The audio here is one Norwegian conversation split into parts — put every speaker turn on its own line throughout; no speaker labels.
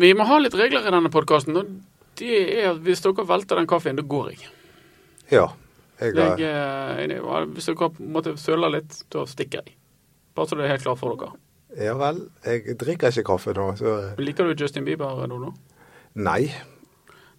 Vi må ha litt regler i denne podkasten. Det er at hvis dere velter den kaffen, da går jeg.
Ja. Jeg
jeg
har,
eh, er- hvis dere på en måte søler litt, da stikker jeg. Bare så det er helt klart for dere.
ja vel. Jeg drikker ikke kaffe nå, så eh,
Liker du Justin Bieber, Dodo?
Nei.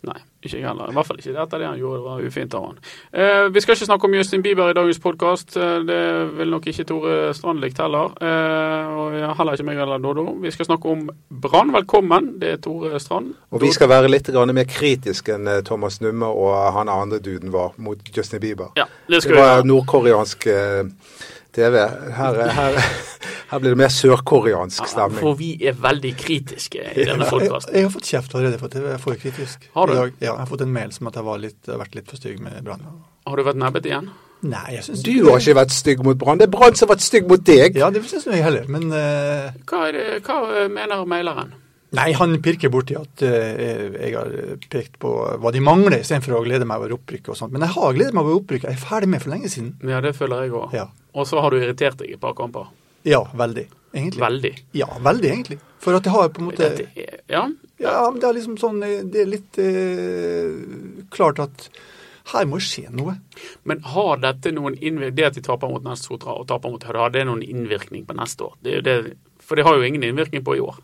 Nei, ikke jeg heller. I hvert fall ikke dette. Det han gjorde, det var ufint av han. Eh, vi skal ikke snakke om Justin Bieber i dagens podkast. Det vil nok ikke Tore Strand likt heller. Eh, og ja, heller ikke meg eller Dodo. Vi skal snakke om Brann. Velkommen, det er Tore Strand.
Og vi skal være litt grann mer kritiske enn eh, Thomas Numme og han andre duden var mot Justin Bieber.
Ja, det
Det
skal vi
var
gjøre.
nordkoreansk eh, TV. Her, er- her, her blir det mer sørkoreansk
Ja,
stemning.
for vi er veldig kritiske i denne podkasten.
Jeg, jeg har fått kjeft allerede for at jeg er for kritisk.
Har du?
I dag, ja, jeg har fått en mail som at jeg var litt, har vært litt for stygg med Brann.
Har du vært nebbet igjen?
Nei, jeg syns
Du har ikke vært stygg mot Brann. Det er Brann som har vært stygg mot deg.
Ja, det syns jeg heller. Men eh,
Hva, er det, hva eh, mener maileren?
nei, han pirker borti at eh, jeg har pekt på hva de mangler, istedenfor å glede meg over opprykket og sånt. Men jeg har gledet meg over opprykket. Jeg er ferdig med for lenge siden.
Ja, det føler jeg òg.
Ja,
Og så har du irritert deg i et par kamper.
ja veldig. Egentlig.
Veldig.
Ja, veldig, egentlig. For at jeg har på en måte
Dette er, ja.
Ja, men det er liksom sånn eh, Det er litt eh, klart at her må skje noe.
Men har dette noen innvirkning Det at de taper mot Nest Sotra og taper mot Hødda, har det noen innvirkning på neste år? Det, er jo det, for det har jo ingen innvirkning på i år.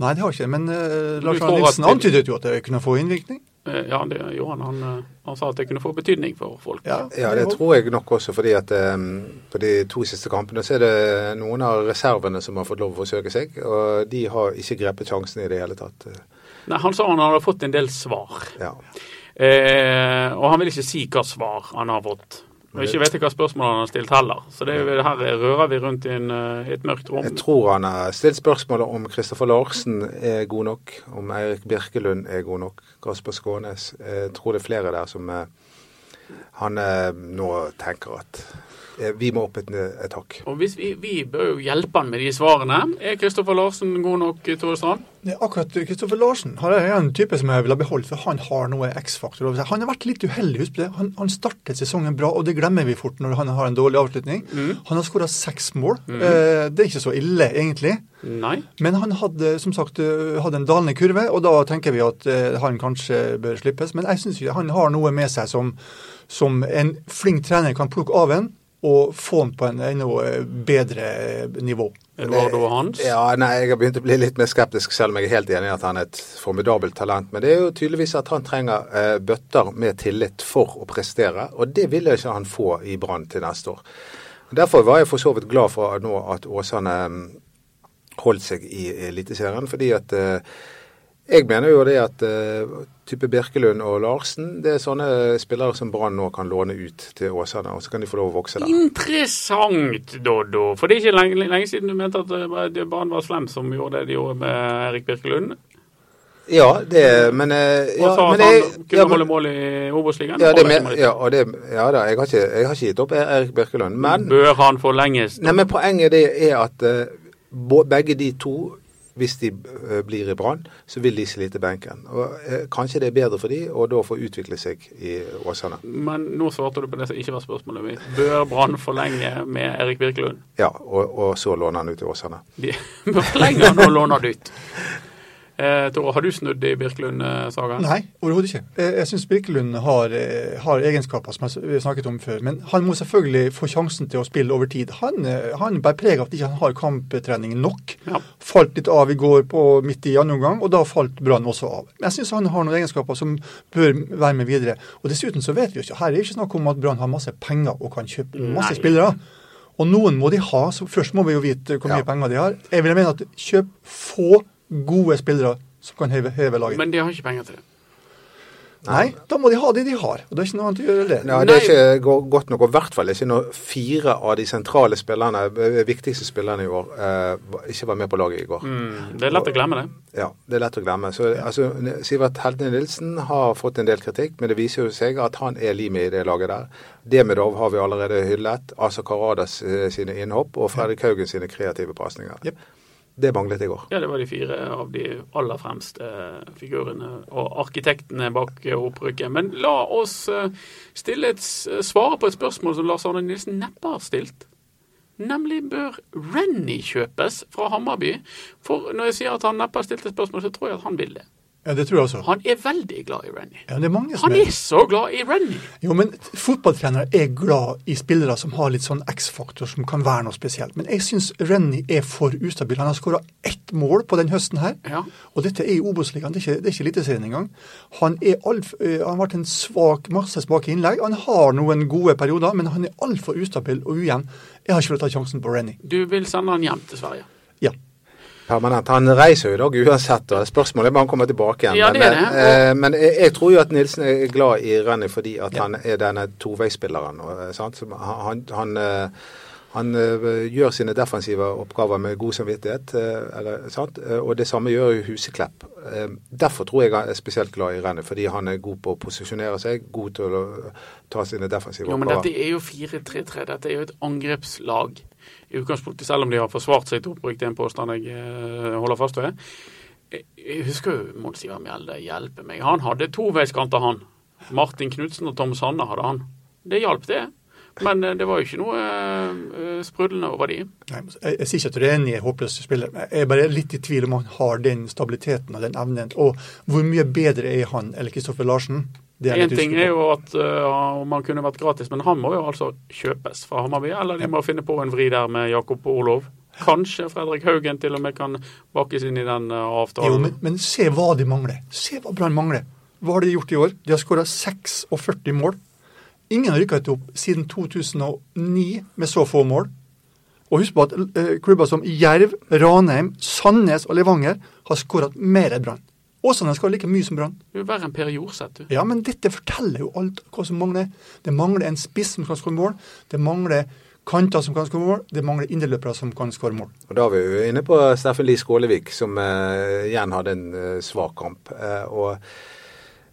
Nei, det har ikke det. Men eh,
Du
Lars
tror
Arne Nilsen
at-
antydet jo at det kunne få innvirkning.
Eh, Ja, det, Johan han, eh, han sa at det kunne få betydning for folk.
Ja,
Ja, det tror jeg nok også, fordi at eh, på de to siste kampene så er det noen av reservene som har fått lov å forsøke seg, og de har ikke grepet sjansen i det hele tatt.
Nei, Han sa han hadde fått en del svar,
Ja.
eh, og han vil ikke si hva svar han har fått. Og ikke vet jeg hva spørsmål han har stilt heller. Så det er, jo- her rører vi rundt i en, eh, i et mørkt rom.
Jeg tror han har stilt spørsmålet om Kristoffer Larsen er god nok, om Eirik Birkelund er god nok, Kasper Skånes. Jeg tror det er flere der som eh, han eh, nå tenker at eh, vi må opp et, et hakk.
Og hvis vi, vi bør jo hjelpe han med de svarene. Er Kristoffer Larsen god nok, Tore Strand?
Nei, akkurat Kristoffer Larsen har jeg er en type som jeg ville ha beholdt, for han har noe X-faktor over seg. Han har vært litt uheldig, husk på det. Han, han startet sesongen bra, og det glemmer vi fort når han har en dårlig avslutning.
Mm.
Han har skåra seks mål. Eh, det er ikke så ille, egentlig.
Nei.
Men han hadde som sagt eh, hadde en dalende kurve, og da tenker vi at eh, han kanskje bør slippes. Men jeg syns han har noe med seg som, som en flink trener kan plukke av en og få han på en enda bedre øh, nivå.
Eduardo Hans?
Ja, nei, Jeg har begynt å bli litt mer skeptisk, selv om jeg er helt enig i at han er et formidabelt talent. Men det er jo tydeligvis at han trenger eh, bøtter med tillit for å prestere, og det vil ikke han få i Brann til neste år. Derfor var jeg for så vidt glad for nå at Åsane mm, holdt seg i Eliteserien, fordi at eh, jeg mener jo det at eh, type Birkelund og Larsen, det er sånne spillere som Brann nå kan låne ut til Åsane, og så kan de få lov å vokse
Mm.
der.
Interessant, Doddo. For det er ikke lenge, lenge siden du mente at eh, det Brann var slem som gjorde det de gjorde med Erik Birkelund.
Ja, det, men eh,
Og
ja,
sa
men
at
jeg-
han kunne
ja, men-
holde mål i Obos-ligaen.
Ja,
Holder
det
ikke
med,
mål i-
ja, og det, ja da, jeg har, ikke, jeg har ikke gitt opp Erik Birkelund. Men,
Bør han forlenges?
nei, men poenget det er at eh, bo- begge de to, hvis de eh, blir i Brann, så vil de slite benken. Og, eh, kanskje det er bedre for de å da få utvikle seg i Åsane.
Men nå svarte du på det som ikke var spørsmålet mitt. Bør Brann forlenge med Erik Birkelund?
Ja, og, og så låne han ut til Åsane.
De bør forlenge han og låne han ut. Eh, Tore, har du snudd i eh, Birkelund-sagaen?
Nei, overhodet ikke. Jeg, jeg syns Birkelund har, eh, har egenskaper som jeg s- vi har snakket om før. Men han må selvfølgelig få sjansen til å spille over tid. Han, eh, han bærer preg av at ikke han har kamptrening nok.
Ja.
Falt litt av i går på midt i andre omgang, og da falt Brann også av. Men jeg syns han har noen egenskaper som bør være med videre. Og dessuten så vet vi jo ikke, her er det ikke snakk om at Brann har masse penger og kan kjøpe masse
Nei.
spillere. Og noen må de ha, så først må vi jo vite hvor mye
Ja.
penger de har. Jeg vil mene at kjøp få gode spillere som kan heve, heve laget.
Men de har ikke penger til det.
Nei, da må de ha det de har. Og det er ikke noe annet å gjøre det.
Nei, det er ikke go- godt nok, og i hvert fall ikke når fire av de sentrale spillerne, eh, viktigste spillerne i år, eh, var- ikke var med på laget i går.
Mm, det er lett å glemme det.
Ja, det er lett å glemme. Så, altså, Sivert Heltne Nilsen har fått en del kritikk, men det viser jo seg at han er limet i det laget der. Demidov har vi allerede hyllet. Asa Karadas eh, sine innhopp og Fredrik Haugen sine kreative pasninger.
Jep.
Det manglet i går.
Ja, det var de fire av de aller fremste eh, figurene og arkitektene bak eh, opprykket. Men la eh, oss eh, stille et, s- svare på et spørsmål som Lars Arne Nilsen neppe har stilt. Nemlig bør Rennie kjøpes fra Hammarby. For når jeg sier at han neppe har stilt et spørsmål, så tror jeg at han vil det.
Ja, det tror jeg også.
Han er veldig glad i Rennie.
Ja, det er mange
Han
som er
er så glad i Rennie!
Jo, men fotballtrenere er glad i spillere som har litt sånn X-faktor som kan være noe spesielt. Men jeg syns Rennie er for ustabil. Han har skåra ett mål på den høsten her.
Ja.
Og dette er i Obos-ligaen, det er ikke, det er ikke Eliteserien engang. Han, er alt, eh, han har vært en svak, masse svake innlegg. Han har noen gode perioder, men han er altfor ustabil og ujevn. Jeg har ikke villet ta sjansen på Rennie.
Du vil sende han hjem til Sverige.
Ja.
permanent. Han reiser jo i dag uansett, og spørsmålet er bare om han kommer tilbake igjen.
Ja, det er
men,
det,
eh, men jeg, jeg tror jo at Nilsen er glad i Renny fordi at han er denne toveispilleren. og, eh, Sant? Som Han, han, han, eh, han eh, gjør sine defensive oppgaver med god samvittighet, eh, eller, sant? Eh, og det samme gjør jo Huseklepp. Eh, Derfor tror jeg han er spesielt glad i Renny, fordi han er god på å posisjonere seg, god til å ta sine defensive
Jo, men
oppgaver.
dette er jo 4-3-3. Dette er jo et angrepslag i utgangspunktet, selv om de har forsvart seg til opprykk. Det er en påstand jeg eh, holder fast ved. Jeg- Jeg husker jo Mons Ivar Mjelde, hjelpe meg. Han hadde toveiskanter, han. Martin Knutsen og Tom Sanne hadde han. Det hjalp, det. Men eh, det var jo ikke noe eh, eh, sprudlende over de.
Nei, jeg, jeg sier ikke at Rennie er en håpløs spiller, men jeg er bare litt i tvil om han har den stabiliteten og den evnen. Og hvor mye bedre er han eller Kristoffer Larsen? Det jeg
En
litt
ting er
usikker på.
jo at eh, om han kunne vært gratis, men han må jo altså kjøpes fra Hammarby. Eller de må finne på en vri der med Jakob Orlov. Kanskje Fredrik Haugen til og med kan bakkes inn i den eh, avtalen.
Jo, men, men se hva de mangler. Se hva Brann mangler. Hva har de gjort i år? De har skåra 46 mål. Ingen har rykka ut opp siden 2009 med så få mål. Og husk på at eh, klubber som Jerv, Ranheim, Sandnes og Levanger har skåra mer enn Brann. Åsane skårer like mye som Brann.
Du er verre enn Per Jorseth, du.
Ja, men dette forteller jo alt hva som mangler. Det mangler en spiss som kan skåre mål. Det mangler kanter som kan skåre mål. Det mangler indreløpere som kan skåre mål.
Og Da er vi jo inne på Steffen Lie Skålevik, som eh, igjen hadde en eh, svak kamp. Eh, og,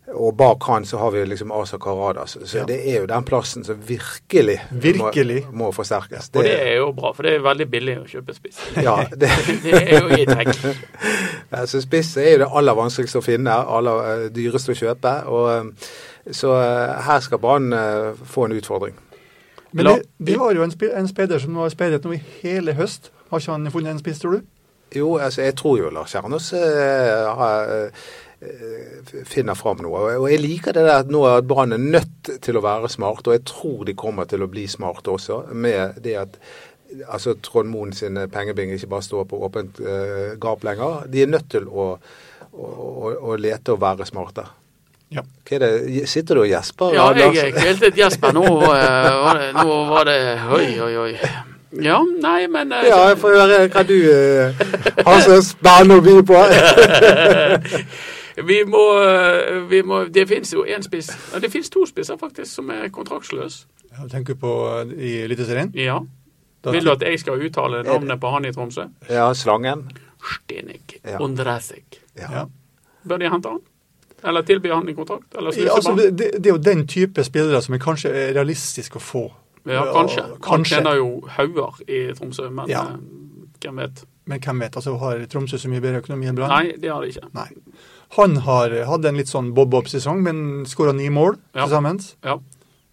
og bak han så har vi liksom Asa Karadas. Så
Ja.
det er jo den plassen som virkelig,
Virkelig.
Må, må forsterkes.
Og det er jo bra, for det er veldig billig å kjøpe spiss.
ja, det,
Det er jo i trekk.
altså spiss er jo det aller vanskeligste å finne, aller eh, dyreste å kjøpe. Og, eh, så eh, her skal Brann eh, få en utfordring.
Men
La-
det, vi har jo en, spe- en speider som har speidet nå i hele høst. Har ikke han funnet en spiss, tror du?
Jo, altså jeg tror jo Lars Kjernås eh, har, eh, finner fram noe. Og jeg liker det der at nå er Brann er nødt til å være smart, og jeg tror de kommer til å bli smarte også. Med det at altså Trond Moen sine pengebinger ikke bare står på åpent eh, gap lenger. De er nødt til å, å, å, å lete og være smarte.
Ja.
Hva er det? Sitter du og gjesper?
Ja, jeg
Lars?
er kvelt et Jesper. Nå, eh, var det- nå var det Oi, oi, oi. Ja, nei, men eh,
Ja, jeg får høre hva du eh, har så spennende å by på.
vi, må, eh, vi må Det finnes jo én spiss. Ja, Det finnes to spisser, faktisk, som er kontraktsløs.
Jeg tenker på eh, i Eliteserien.
Ja.
Da-
Vil du at jeg skal uttale navnet på han i Tromsø?
Ja, slangen.
Stenik
Ja.
Ondresik.
Ja.
Bør de hente han? Eller tilby han en kontrakt? Eller
Ja,
sluse
altså,
på han?
det, det det er jo den type spillere som er kanskje er realistisk å få.
Ja, kanskje. Han
kanskje.
tjener jo hauger i Tromsø, men
Ja.
eh, hvem vet.
Men hvem vet? altså Har Tromsø så mye bedre økonomi enn Brann?
Nei, det har de ikke.
Nei. Han har hatt en litt sånn bob-bob-sesong, men skåra ni mål
Ja.
til sammen.
Ja.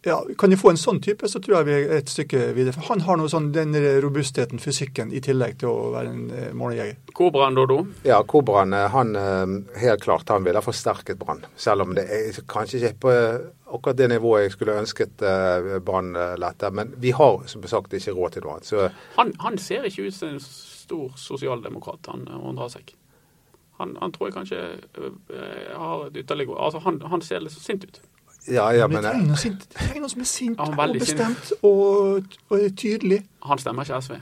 Ja, kan de få en sånn type, så tror jeg vi er et stykke videre. For han har noe sånn den robustheten, fysikken, i tillegg til å være en eh, måljeger.
Kobraen, Dodo.
Ja, Kobran eh, han eh, helt klart han ville ha forsterket Brann. Selv om det er kanskje ikke på eh, akkurat det nivået jeg skulle ønsket eh, Brann eh, lette. Men vi har som sagt ikke råd til noe annet. Så
Han, han ser ikke ut som en stor sosialdemokrat, han eh, Ondresik. Han, han tror jeg kanskje eh, har et ytterligere Altså, han, han ser litt så sint ut.
ja, ja, men
Men de
eh,
trenger noe sint- de trenger noe som er sint
Ja, han er
og
veldig sint.
bestemt og, og er tydelig.
Han stemmer ikke SV.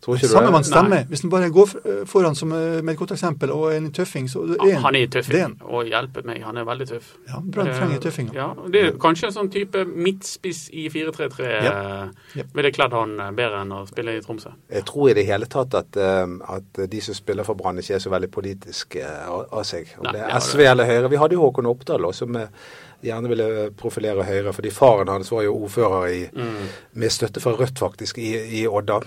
tror ikke
Samme
du
man
det?
stemmer. Hvis man bare går for- eh, foran som eh, med et godt eksempel og er en tøffing, så det er en,
Han er
det er en.
tøffing. Og hjelpe meg, han er veldig tøff.
Ja, Brann trenger tøffinger.
Ja, det er kanskje en sånn type midtspiss i 4-3-3 eh,
Ja.
ville kledd han eh, bedre enn å spille i Tromsø.
Jeg tror i det hele tatt at, eh, at de som spiller for Brann, ikke er så veldig politiske eh, av- av seg. Om
Nei,
det
det har
er SV eller Høyre. Vi hadde jo Håkon Oppdal også, som eh, gjerne ville profilere Høyre. Fordi faren hans var jo ordfører i,
Mm.
med støtte fra Rødt, faktisk, i, i Odda.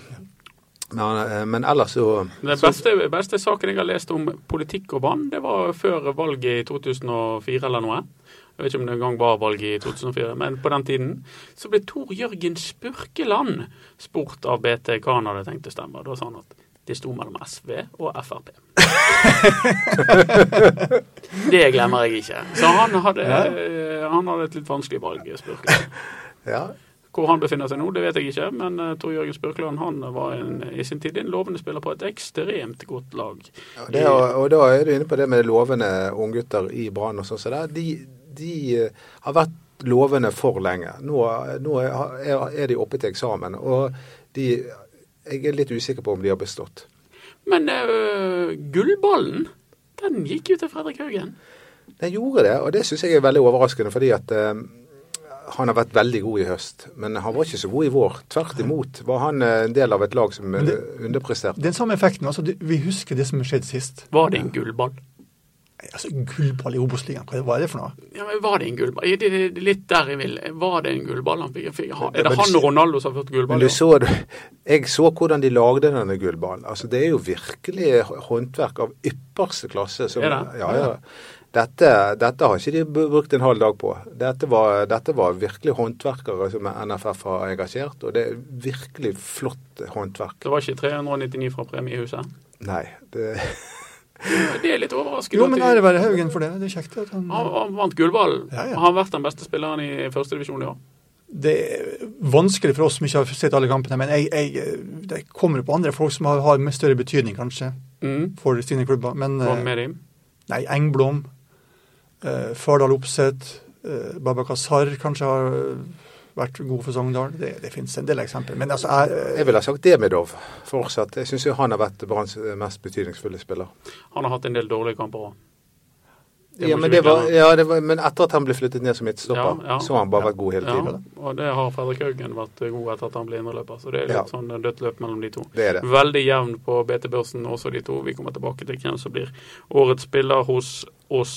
Men, eh, men ellers så
Den beste, beste saken jeg har lest om politikk og vann, det var før valget i 2004 eller noe. Jeg vet ikke om det engang var valg i 2004, men på den tiden. Så ble Tor Jørgen Spurkeland spurt av BT hva han hadde tenkt å stemme. Da sa han at det sto mellom SV og Frp. det glemmer jeg ikke. Så han hadde, eh, han hadde et litt vanskelig valg, Spurkeland.
Ja.
Hvor han befinner seg nå, det vet jeg ikke, men eh, Tor Jørgen Spurkeland han var en, i sin tid en lovende spiller på et ekstremt godt lag.
Og Det, og, og da er du inne på det med lovende unggutter i Brann og sånn. som det er. de, de eh, har vært lovende for lenge. Nå, nå er, er de oppe til eksamen. Og de Jeg er litt usikker på om de har bestått.
Men eh, gullballen, den gikk jo til Fredrik Haugen.
Den gjorde det, og det syns jeg er veldig overraskende. Fordi at eh, han har vært veldig god i høst, men han var ikke så god i vår. Tvert imot var han eh, en del av et lag som eh, underpresterte.
Den samme effekten. altså det- Vi husker det som skjedde sist.
Var det en gullball?
Altså, Gullball i Obos-ligaen, hva hva er det for noe?
Ja, men Var det en gullball? Ja, Det det- det er litt der jeg vil. Var det en gullball han fikk? fikk ha- er
Men
det
du
han
ser-
og Ronaldo som har fått gullball?
Men
i
du
år?
så, det- jeg så hvordan de lagde denne gullballen. Altså, det er jo virkelig håndverk av ypperste klasse. Som,
Er det?
Ja, ja. Dette, dette har ikke de bu- brukt en halv dag på. Dette var, dette var virkelig håndverkere som NFF har engasjert, og det er virkelig flott håndverk.
Det var ikke 399 fra premiehuset?
Nei, det,
Det er litt overraskende.
Jo,
at
men
de-
ære være Haugen for det. Det er kjekt at han
han, han vant gullballen.
Ja, ja.
Har han vært den beste spilleren i førstedivisjon i år?
Det er vanskelig for oss som ikke har sett alle kampene, men jeg, jeg, det kommer på andre folk som har, har med større betydning, kanskje,
Mm.
for sine klubber. Men
Var han
eh,
med dem?
nei, Engblom, eh, Fardal Opseth, eh, Babakar Sarr kanskje har eh, vært god for Sogndal. Det, det finnes en del eksempler. Men altså, jeg,
jeg ville ha sagt Demidov fortsatt. Jeg syns jo han har vært Branns mest betydningsfulle spiller.
Han har hatt en del dårlige kamper òg. Det må
Ja,
ikke
men,
vi
det var,
glemme.
ja, det var, men etter at han ble flyttet ned som midtstopper,
Ja, ja.
så har han bare vært god hele tiden.
Ja, og det har Fredrik Haugen vært god etter at han ble indreløper. Så det er litt
Ja.
sånn dødt løp mellom de to.
Det er det.
Veldig jevn på BT-børsen også, de to. Vi kommer tilbake til hvem som blir årets spiller hos oss.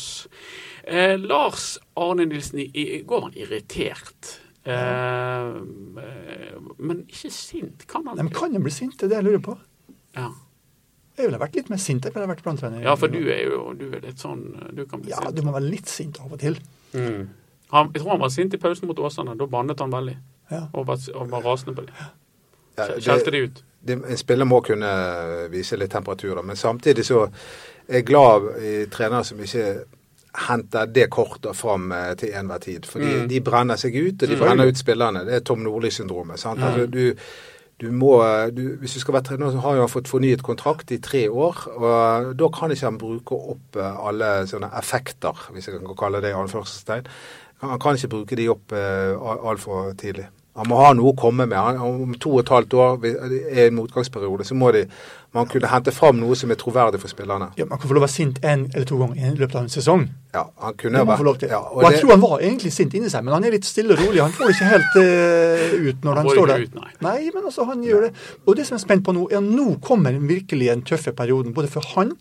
Eh, Lars Arne Nilsen, i, i går var han irritert. Eh, eh, men ikke sint. Kan han
eh, de kan jo bli sinte, det er det jeg lurer på.
Ja.
Jeg ville vært litt mer sint jeg ville vært branntrener.
ja, for du er jo du er litt sånn Du kan bli
Ja,
sint.
du må være litt sint av og til.
Mm. Han, jeg tror han var sint i pausen mot Åsane. Da bannet han veldig.
Ja.
Og var, og var rasende på dem.
Ja,
Skjelte
det-
de ut.
det- En spiller må kunne vise litt temperatur, da, men samtidig så er jeg glad i trenere som ikke henter det kortet fram eh, til enhver tid. Fordi
Mm.
de brenner seg ut, og de
Mm.
brenner ut spillerne. Det er Tom Nordli-syndromet. sant? Altså, du, du må, eh, du, hvis du skal være trener, så har jo han fått fornyet kontrakt i tre år. og Da kan ikke han bruke opp eh, alle sånne effekter, hvis jeg kan kalle det i anførselstegn. Han han kan ikke bruke de opp eh, al- altfor tidlig. Han må ha noe å komme med. Han- Om to og et halvt år vi- eh, er en motgangsperiode, så må de, man kunne hente fram noe som er troverdig for spillerne.
Ja, Man kan få lov å være sint én eller to ganger i løpet av en sesong.
Ja, han kunne
Det må han
vært-
få lov til.
Ja,
og jeg tror han var egentlig sint inni seg, men han er litt stille og rolig. Han får det ikke helt eh, ut når han
får det
står der.
ikke ut, nei.
men altså, han gjør det. Og det som jeg er spent på nå, er at nå kommer den virkelig den tøffe perioden, både for han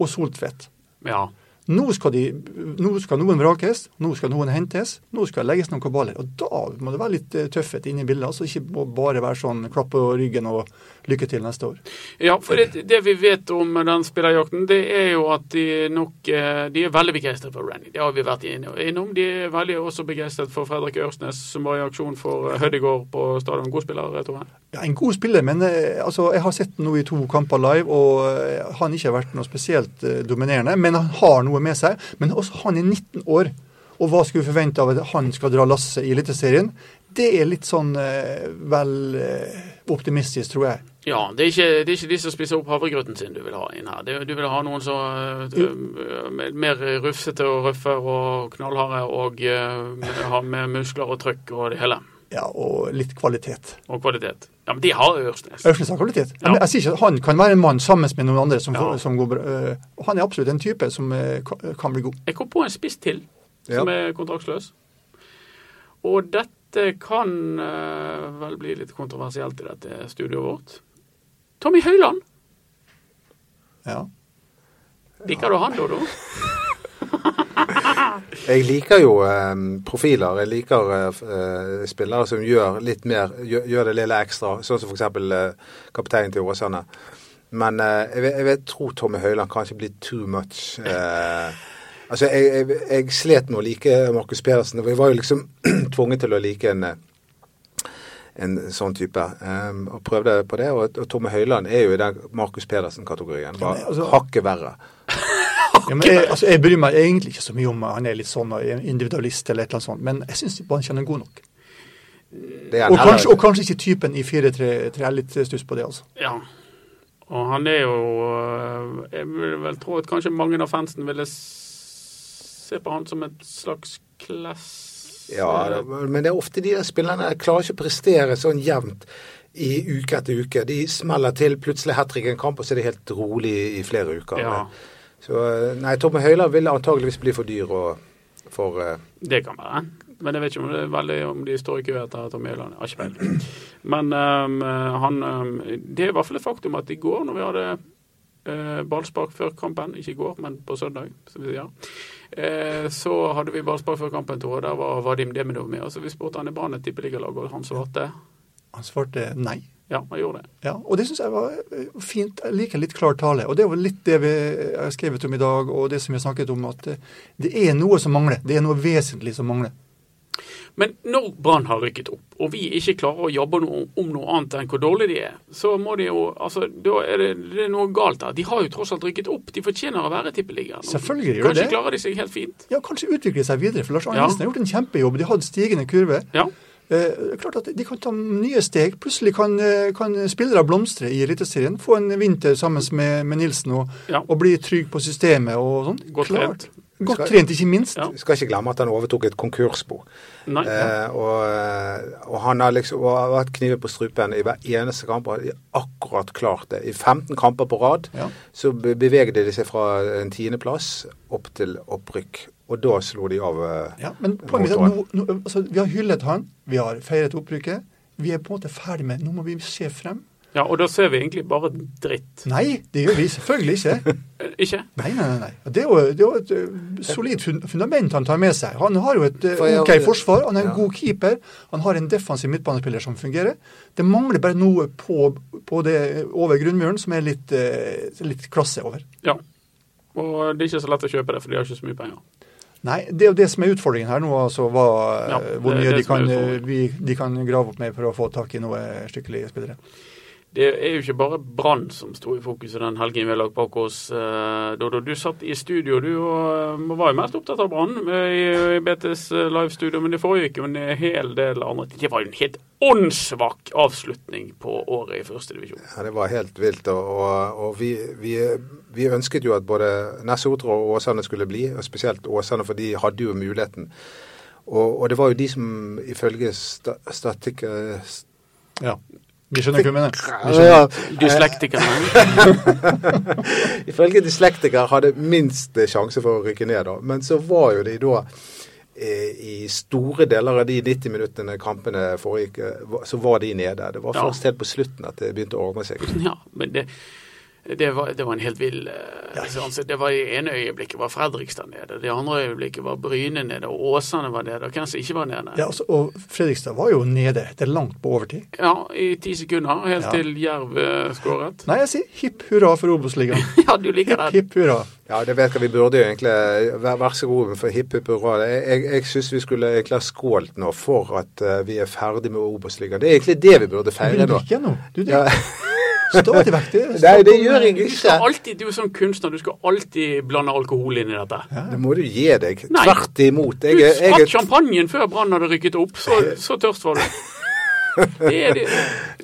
og Soltvedt.
Ja.
Nå skal, de, nå skal noen vrakes, nå skal noen hentes, nå skal det legges noen kabaler. Og da må det være litt eh, tøffhet inne i bildet. altså Ikke må bare være sånn klapp på ryggen og lykke til neste år.
Ja, for det, det vi vet om den spillerjakten, det er jo at de nok eh, De er veldig begeistret for Rennie, det har vi vært inne- innom. De er veldig også begeistret for Fredrik Ørsnes, som var i aksjon for eh, Høydegård på stadion. God spiller, Tore.
Ja, En god spiller, men eh, altså, jeg har sett ham nå i to kamper live, og eh, han ikke har vært noe spesielt eh, dominerende. Men han har noe med seg. Men også han er 19 år, og hva skal vi forvente av at han skal dra lasset i Eliteserien? Det er litt sånn eh, vel eh, optimistisk, tror jeg.
Ja, det er, ikke, det er ikke de som spiser opp havregrøten sin du vil ha inn her. Det- Du vil ha noen som eh, eh, mer rufsete og røffe og knallharde og eh, har med muskler og trøkk og det hele.
Ja, Og litt kvalitet.
Og kvalitet. Ja, men de har Ørsnes.
Ørsnes har kvalitet. Jeg, men- jeg sier ikke at Han kan være en mann sammen med noen andre som, får-
Ja.
som går bra. eh, og han er absolutt en type som eh, ka- kan bli god.
Jeg kom på en spiss til som
Ja.
er kontraktsløs. Og dette kan eh, vel bli litt kontroversielt i dette studioet vårt. Tommy Høiland!
Ja.
Liker du han, Dodo?
Jeg liker jo eh, profiler. Jeg liker eh, f- eh, spillere som gjør litt mer, gjør, gjør det lille ekstra. Sånn som f.eks. Eh, kapteinen til Åsane. Men eh, jeg, vil- jeg vil tro Tommy Høiland kanskje blir too much. Eh, Altså, jeg, jeg, jeg slet med å like Markus Pedersen. og Jeg var jo liksom tvunget til å like en, eh, en sånn type. Ehm, og prøvde på det. Og, og Tomme Høiland er jo i den Markus Pedersen-kategorien. Bare
Ja, men altså-
hakket verre.
Ja, men jeg, altså, jeg bryr meg egentlig ikke så mye om han er litt sånn og individualist eller et eller annet sånt, men jeg syns ikke han er god nok.
Det er han
Og
heller
kanskje,
ikke.
og kanskje ikke typen i 4-3. Jeg er litt stuss på det, altså.
Ja. Og han er jo eh, Jeg vil vel tro at kanskje mange av fansen ville s- se på han som et slags klass...
Ja, det- Eh, men det er ofte de der spillerne jeg klarer ikke å prestere sånn jevnt i uke etter uke. De smeller til, plutselig hat trick i en kamp, og så er det helt rolig i- i flere uker.
Ja.
Så eh, nei, Tomme Høiland vil antageligvis bli for dyr og for eh,
Det kan være. Men jeg vet ikke om det er veldig om de står i kø etter Tom Høiland. Jeg har ikke peiling. Men ehm, han ehm, Det er i hvert fall et faktum at i går, når vi hadde eh, ballspark før kampen, ikke i går, men på søndag, som vi sier, eh, så hadde vi ballspark før kampen, Tore. Der var Vadim Deminov med. Og så vi spurte han i Brann et tippeligalag, og han svarte
Han svarte nei.
ja, han gjorde det.
Ja, og det syns jeg var eh, fint. Jeg liker litt klar tale. Og det er jo litt det vi eh, har skrevet om i dag, og det som vi har snakket om, at eh, det er noe som mangler. Det er noe vesentlig som mangler.
Men når Brann har rykket opp, og vi ikke klarer å jobbe noe om noe annet enn hvor dårlig de er, så må de jo altså, Da er det, det er noe galt der. De har jo tross alt rykket opp. De fortjener å være i Tippeligaen.
Selvfølgelig gjør de
Kanskje
det.
klarer de seg helt fint.
Ja, kanskje utvikle seg videre, for Lars Arne
Ja.
Nilsen har gjort en kjempejobb. De har hatt stigende kurve.
Ja.
Eh, det er klart at De kan ta nye steg. Plutselig kan, eh, kan spillere blomstre i Eliteserien. Få en vinter sammen med, med Nilsen og,
Ja.
og bli trygg på systemet og sånn.
Godt
Klart.
trent.
Godt trent, ikke minst.
Ja.
Vi skal ikke glemme at han overtok et konkursbo.
Nei.
Eh, og, og han har liksom og har vært kniven på strupen i hver eneste kamp og har akkurat klart det. I 15 kamper på rad
Ja.
så be- bevegde de seg fra en tiendeplass opp til opprykk. Og da slo de av eh,
Ja, men poenget er at nå, nå, altså, vi har hyllet han, vi har feiret opprykket. Vi er på en måte ferdig med Nå må vi se frem.
ja, og da ser vi egentlig bare dritt.
Nei, det gjør vi selvfølgelig ikke.
Eh, Ikke?
Nei, nei, nei. nei. Det er jo, det er jo et ø, solid fun- fundament han tar med seg. Han har jo et ø,
For jeg-
OK forsvar, han er en
Ja.
god keeper, han har en defensiv midtbanespiller som fungerer. Det mangler bare noe på, på det eh, over grunnmuren som er litt, ø, litt klasse over.
Ja. Og det er ikke så lett å kjøpe det, for de har ikke så mye penger.
Nei, det er jo det som er utfordringen her nå, altså hva,
Ja,
ø,
det
hvor
er
mye
det
de
som er
kan, ø,
utfordringen.
vi, de kan grave opp med for å få tak i noe skikkelig spillere.
Det er jo ikke bare Brann som sto i fokus i den helgen vi har lagt bak oss. eh, Dodo, du satt i studio, du, og eh, var jo mest opptatt av Brann eh, i i BTs eh, livestudio, men det foregikk jo en hel del andre ting. Det var jo en helt åndssvak avslutning på året i første divisjon.
Ja, det var helt vilt. Og, og, og vi, vi, vi ønsket jo at både Nessotra og Åsane skulle bli, og spesielt Åsane, for de hadde jo muligheten. Og, og det var jo de som ifølge sta- statikk... eh, st-
Ja. Vi skjønner hva du mener. Vi skjønner.
Ja,
Dyslektikerne.
Ifølge dyslektiker hadde minst sjanse for å rykke ned, da. Men så var jo de da eh, i store deler av de 90 minuttene kampene foregikk, eh, va- så var de nede. Det var
Ja.
først helt på slutten at det begynte å ordne seg.
Ja, men det, det, var, det var en helt vill eh, seanse. Det var I ene øyeblikket var Fredrikstad nede, det andre øyeblikket var Bryne nede, og Åsane var nede, og hvem som ikke var nede.
Ja, altså, og Fredrikstad var jo nede. Det er langt på overtid.
Ja, i ti sekunder, helt
Ja.
til Jerv eh, skåret.
Nei, jeg sier hipp hurra for Obos-ligaen.
Ja, du liker
Hipp,
det.
hipp hurra.
Ja, det vet jeg vi burde jo egentlig Vær, vær så god for hipp hipp hurra. Jeg, jeg, jeg syns vi skulle egentlig ha skålt nå for at eh, vi er ferdig med Obos-ligaen. Det er egentlig det vi burde
Du
feire nå.
drikker nå. Du
Ja.
drikker. Stadig vekk. Det, er
Nei, det
snakk om-
gjør jeg
Du skal
ikke.
alltid, du er sånn kunstner, du skal alltid blande alkohol inn i dette.
Det må du gi deg.
Nei.
Tvert imot.
Du
Jeg, er- jeg,
sprakk
er-
champagnen før Brann hadde rykket opp, så, så tørst var du. Det er det.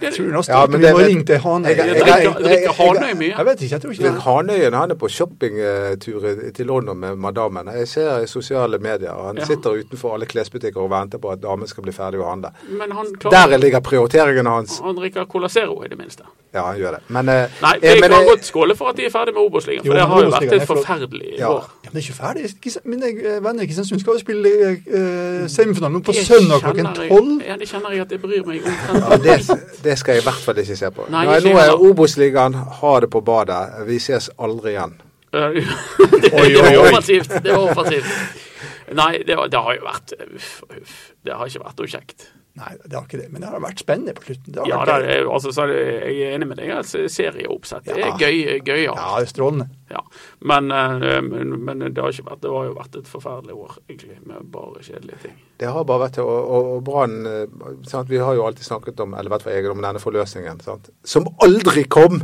det,
Tror
er-
du nå
Ja,
snart
men
vi
det-
må
det-
ringe til Hanøy?
Jeg-
jeg
jeg-
drikker-
jeg- jeg-
drikker Hanøy mye.
Jeg vet ikke, jeg tror ikke
Men
det.
Hanøyen han er på shoppingtur i- til London med madammen. Jeg ser i sosiale medier. og Han
Ja.
sitter utenfor alle klesbutikker og venter på at damen skal bli ferdig å handle.
Men han
Der
klarer
ligger prioriteringen hans.
Han drikker Colasero, i det minste.
Ja, han gjør det. Men, eh,
Nei,
eh,
jeg
men,
kan
eh,
godt skåle for at de er ferdig med Obos-ligaen,
Jo,
for det
men
har jo vært
Obos-ligaen
et
er flott.
forferdelig
Ja.
år.
Ja, men det er ikke ferdig. Kis- Mine eh, venner i Kristiansund skal jo spille eh, semifinalen nå på
Det
søndag klokken
kjenner jeg-
tolv.
Ja, det kjenner jeg at jeg bryr meg
ja,
om.
det, det skal jeg i hvert fall ikke se på.
Nei,
Nei,
ikke
nå er
heller.
Obos-ligaen ha det på badet. Vi ses aldri igjen.
det, det
Oi, oi,
var
oi.
offensivt. Det var offensivt. Nei, det, var, det har jo vært uff, uff. Det har ikke vært noe kjekt.
Nei, det har ikke det, men det har vært spennende på slutten. Det har
Ja,
vært
da,
gøy.
det er jo- altså, så er det, jeg er enig med deg. Altså, serieoppsettet
Ja.
er gøy, gøyere.
eh, Ja, det er strålende.
Ja. Men, eh, men, men det, har ikke vært, det har jo vært et forferdelig år, egentlig, med bare kjedelige ting.
Det har bare vært det. Og, og, og Brann eh, sant, Vi har jo alltid snakket om eller i hvert fall jeg, om denne forløsningen, sant? som aldri kom!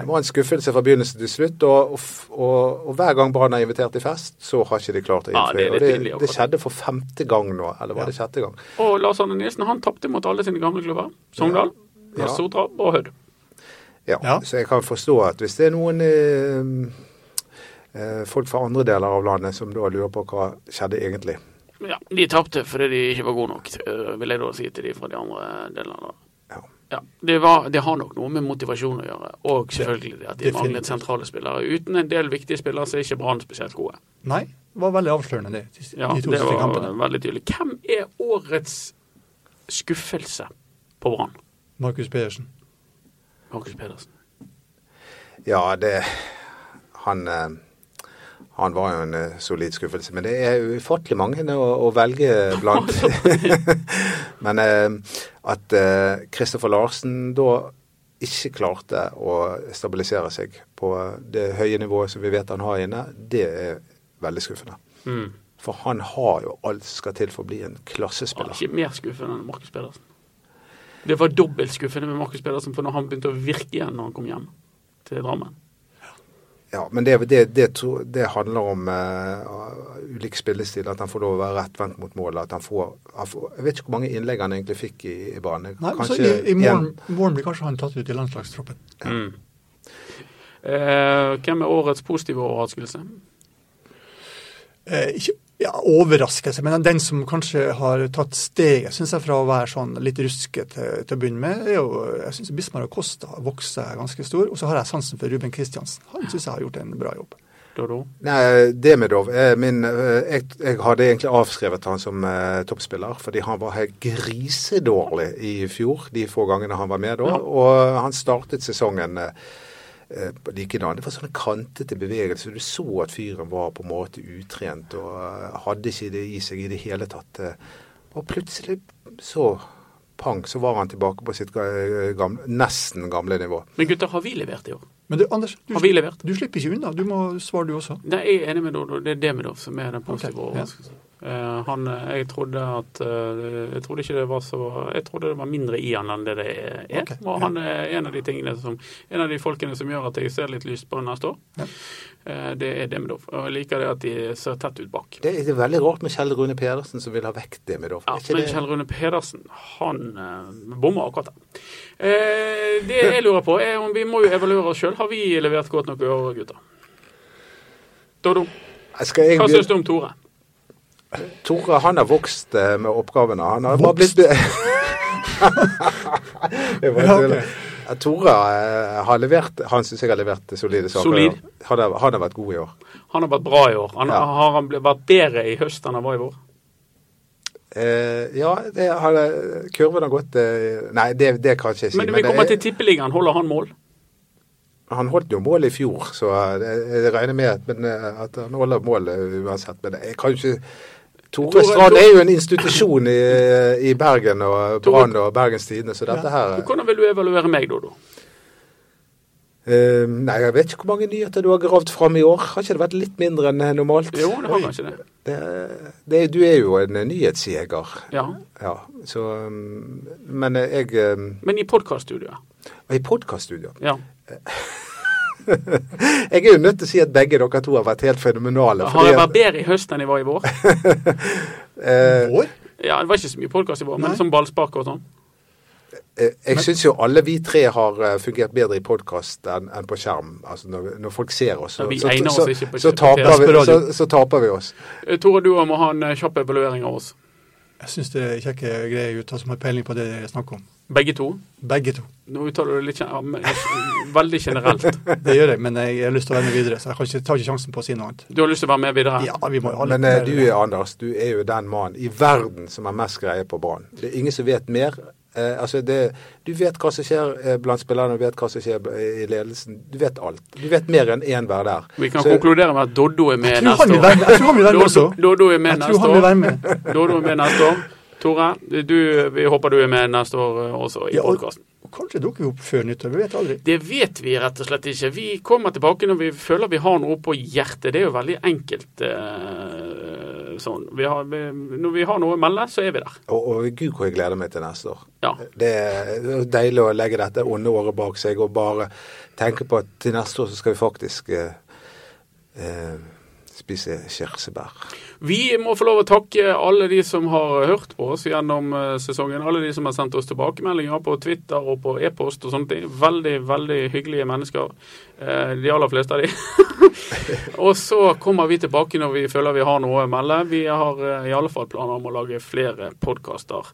Det var en skuffelse fra begynnelse til slutt. Og, og, f- og, og hver gang Brann har invitert til fest, så har ikke de klart å
Ja,
innfri.
det er litt
og det,
pinlig akkurat.
det skjedde for femte gang nå, eller var
Ja.
det sjette gang?
Og Lars Arne Nilsen han tapte mot alle sine gamle klubber. Sogndal,
Ja.
Sotrab og Hødd.
Ja.
Ja.
Så jeg kan forstå at hvis det er noen eh, eh, folk fra andre deler av landet som da lurer på hva skjedde egentlig
Ja, de tapte fordi de ikke var gode nok, eh, vil jeg da si til de fra de andre delene. av landet.
Ja.
Ja, det, var, det har nok noe med motivasjon å gjøre, og selvfølgelig det at de
Definitivt.
manglet sentrale spillere. Uten en del viktige spillere så er ikke Brann spesielt gode.
Nei, det var veldig avslørende, det. De,
Ja,
de to
det
siste
var
kampene.
veldig tydelig. Hvem er årets skuffelse på Brann?
Markus Pedersen.
Markus Pedersen.
Ja, det Han, eh, han var jo en eh, solid skuffelse. Men det er ufattelig mange å, å velge blant. men eh, at eh, Kristoffer Larsen da ikke klarte å stabilisere seg på det høye nivået som vi vet han har inne, det er veldig skuffende.
Mm.
For han har jo alt som skal til for å bli en
Han er
klassespiller.
ikke mer skuffende enn Markus Pedersen. Det var dobbelt skuffende med Markus Pedersen, for når han begynte å virke igjen når han kom hjem til Drammen.
Ja, men det, det, det, tror- det handler om eh, ulik spillestil, at han får lov å være rettvendt mot målet. At han får, han får Jeg vet ikke hvor mange innlegg han egentlig fikk i, i banen.
Nei, men så i,
Kanskje
i morgen,
en-
morgen blir kanskje han tatt ut i landslagstroppen.
Mm. Eh, hvem er årets positive overraskelse?
Eh, ikke ja, overraskelse, men den som kanskje har tatt steget, syns jeg, fra å være sånn litt ruskete til, til å begynne med, er jo Jeg syns Bismar Acosta har vokst seg ganske stor. Og så har jeg sansen for Ruben Kristiansen. Han syns jeg har gjort en bra jobb.
Dodo?
Nei, Demidov er min eh, jeg, jeg hadde egentlig avskrevet han som eh, toppspiller, fordi han var helt grisedårlig i fjor, de få gangene han var med da.
Ja.
Og han startet sesongen eh, eh, likedan. Det var sånne kantete bevegelser. Du så at fyren var på en måte utrent og eh, hadde ikke det i seg i det hele tatt. eh. Og plutselig så pang, så var han tilbake på sitt ga- eh, gamle, nesten gamle nivå.
Men gutter, har vi levert i år?
Men du, Anders, du,
Har vi levert?
du slipper ikke unna. Du må svare, du også.
Nei, jeg er enig med Dodo. Det er Demidov som er den positive
Ok, ja.
overraskelsen. Eh, han, eh, jeg trodde at eh, Jeg trodde ikke det var så Jeg trodde det var mindre i han enn det det er.
Ok,
Og
ja.
han er en av de tingene som En av de folkene som gjør at jeg ser litt lyst på han neste år.
Ja.
Eh, det er Demidov. Og jeg liker det at de ser tett ut bak.
Det er det er veldig rart med Kjell Rune Pedersen som vil ha vekk Demidov.
Ja,
Er ikke
men
det-
Kjell Rune Pedersen, han eh, bommer akkurat der. Eh, det jeg lurer på, er om vi må jo evaluere oss sjøl. Har vi levert godt nok i år, gutter? Dodo,
Skal jeg
hva
begynne?
syns du om Tore?
Tore han har vokst eh, med oppgavene. Han har bare
Vokst?
blitt Jeg bare
Ja, ok.
tuller. Eh, Tore eh, har levert Han syns jeg har levert solide saker. i
Solid.
år. Han har, han har vært god i år.
Han har vært bra i år. Han,
Ja.
Har han ble- vært bedre i høst enn han var i vår?
Eh, ja, det har, kurven har gått eh, Nei, det, det kan jeg ikke si.
Men vi
det
kommer
er-
til tippeligaen. Holder han mål?
han holdt jo mål i fjor, så eh, det- jeg regner med at, men, eh, at han holder mål eh, uansett. Men jeg kan jo ikke Tore,
Tore-
Strand
Tore-
er jo en institusjon i, eh, i Bergen og
Tore-
Brann og Bergens Tidende, så dette her
Hvordan vil du evaluere meg, Dodo?
Eh, nei, jeg vet ikke hvor mange nyheter du har gravd fram i år. Har ikke det vært litt mindre enn eh, normalt?
Jo, det har kanskje det.
Det, det, du er jo en eh, nyhetsjeger.
Ja.
Ja, så um, Men eh, jeg eh,
Men i podkaststudioet?
var I podkaststudio.
Ja.
Jeg er jo nødt til å si at begge dere to har vært helt fenomenale.
Har jeg
fordi
vært bedre i høst enn jeg var i vår?
at, eh,
Vår?
Ja, Det var ikke så mye podkast i vår, men
Nei.
som ballspark og sånn.
eh, jeg syns jo alle vi tre har eh, fungert bedre i podkast enn enn på skjerm. Altså når, når folk ser oss,
Ja,
så,
vi
så,
egner oss
så,
ikke på-
så,
på
taper
TV.
vi, så, så taper vi oss.
Eh, Tore, du må ha en eh, kjapp evaluering av oss.
Jeg syns det er kjekke greier gutter som har peiling på det dere snakker om.
Begge to.
Begge to.
Nå uttaler du det litt gen- ja, men- eh, veldig generelt.
Det gjør jeg, men jeg har lyst til å være med videre, så jeg kan ikke, tar ikke sjansen på å si noe annet.
Du har lyst til å være med videre?
Ja, vi må jo ha litt
Men eh,
mer-
du, Anders, du er jo den mannen i verden som har mest greie på Brann. Det er ingen som vet mer. Eh, altså det, du vet hva som skjer eh, blant spillerne, du vet hva som skjer eh, i ledelsen. Du vet alt. Du vet mer enn én hver der.
Vi kan
Så-
konkludere med at Doddo er
Jeg
med
tror
neste
han vil
år.
være med, jeg tror han vil være med også.
Doddo, Doddo er med
Jeg
neste
tror han
år.
vil være med.
Dodo er med neste år. Tore, du, vi håper du er med neste år eh, også i
Ja, og-
podkasten.
Og Kanskje dukker vi opp før nyttår, vi vet aldri.
Det vet vi rett og slett ikke. Vi kommer tilbake når vi føler vi har noe på hjertet. Det er jo veldig enkelt eh, sånn. Vi har, vi, når vi har noe å melde, så er vi der.
Og, og gud hvor jeg gleder meg til neste år.
Ja.
Det er det er deilig å legge dette onde året bak seg og bare tenke på at til neste år så skal vi faktisk eh, eh, spise kirsebær.
Vi må få lov å takke alle de som har hørt på oss gjennom eh, sesongen. Alle de som har sendt oss tilbakemeldinger på Twitter og på e-post og sånne ting. Veldig, veldig hyggelige mennesker. Eh, De aller fleste av de. og så kommer vi tilbake når vi føler vi har noe å melde. Vi har eh, i alle fall planer om å lage flere podkaster.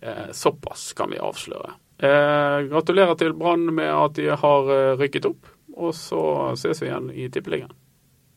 Eh, Såpass kan vi avsløre. Eh, Gratulerer til Brann med at de har eh, rykket opp. Og så ses vi igjen i Tippeligaen.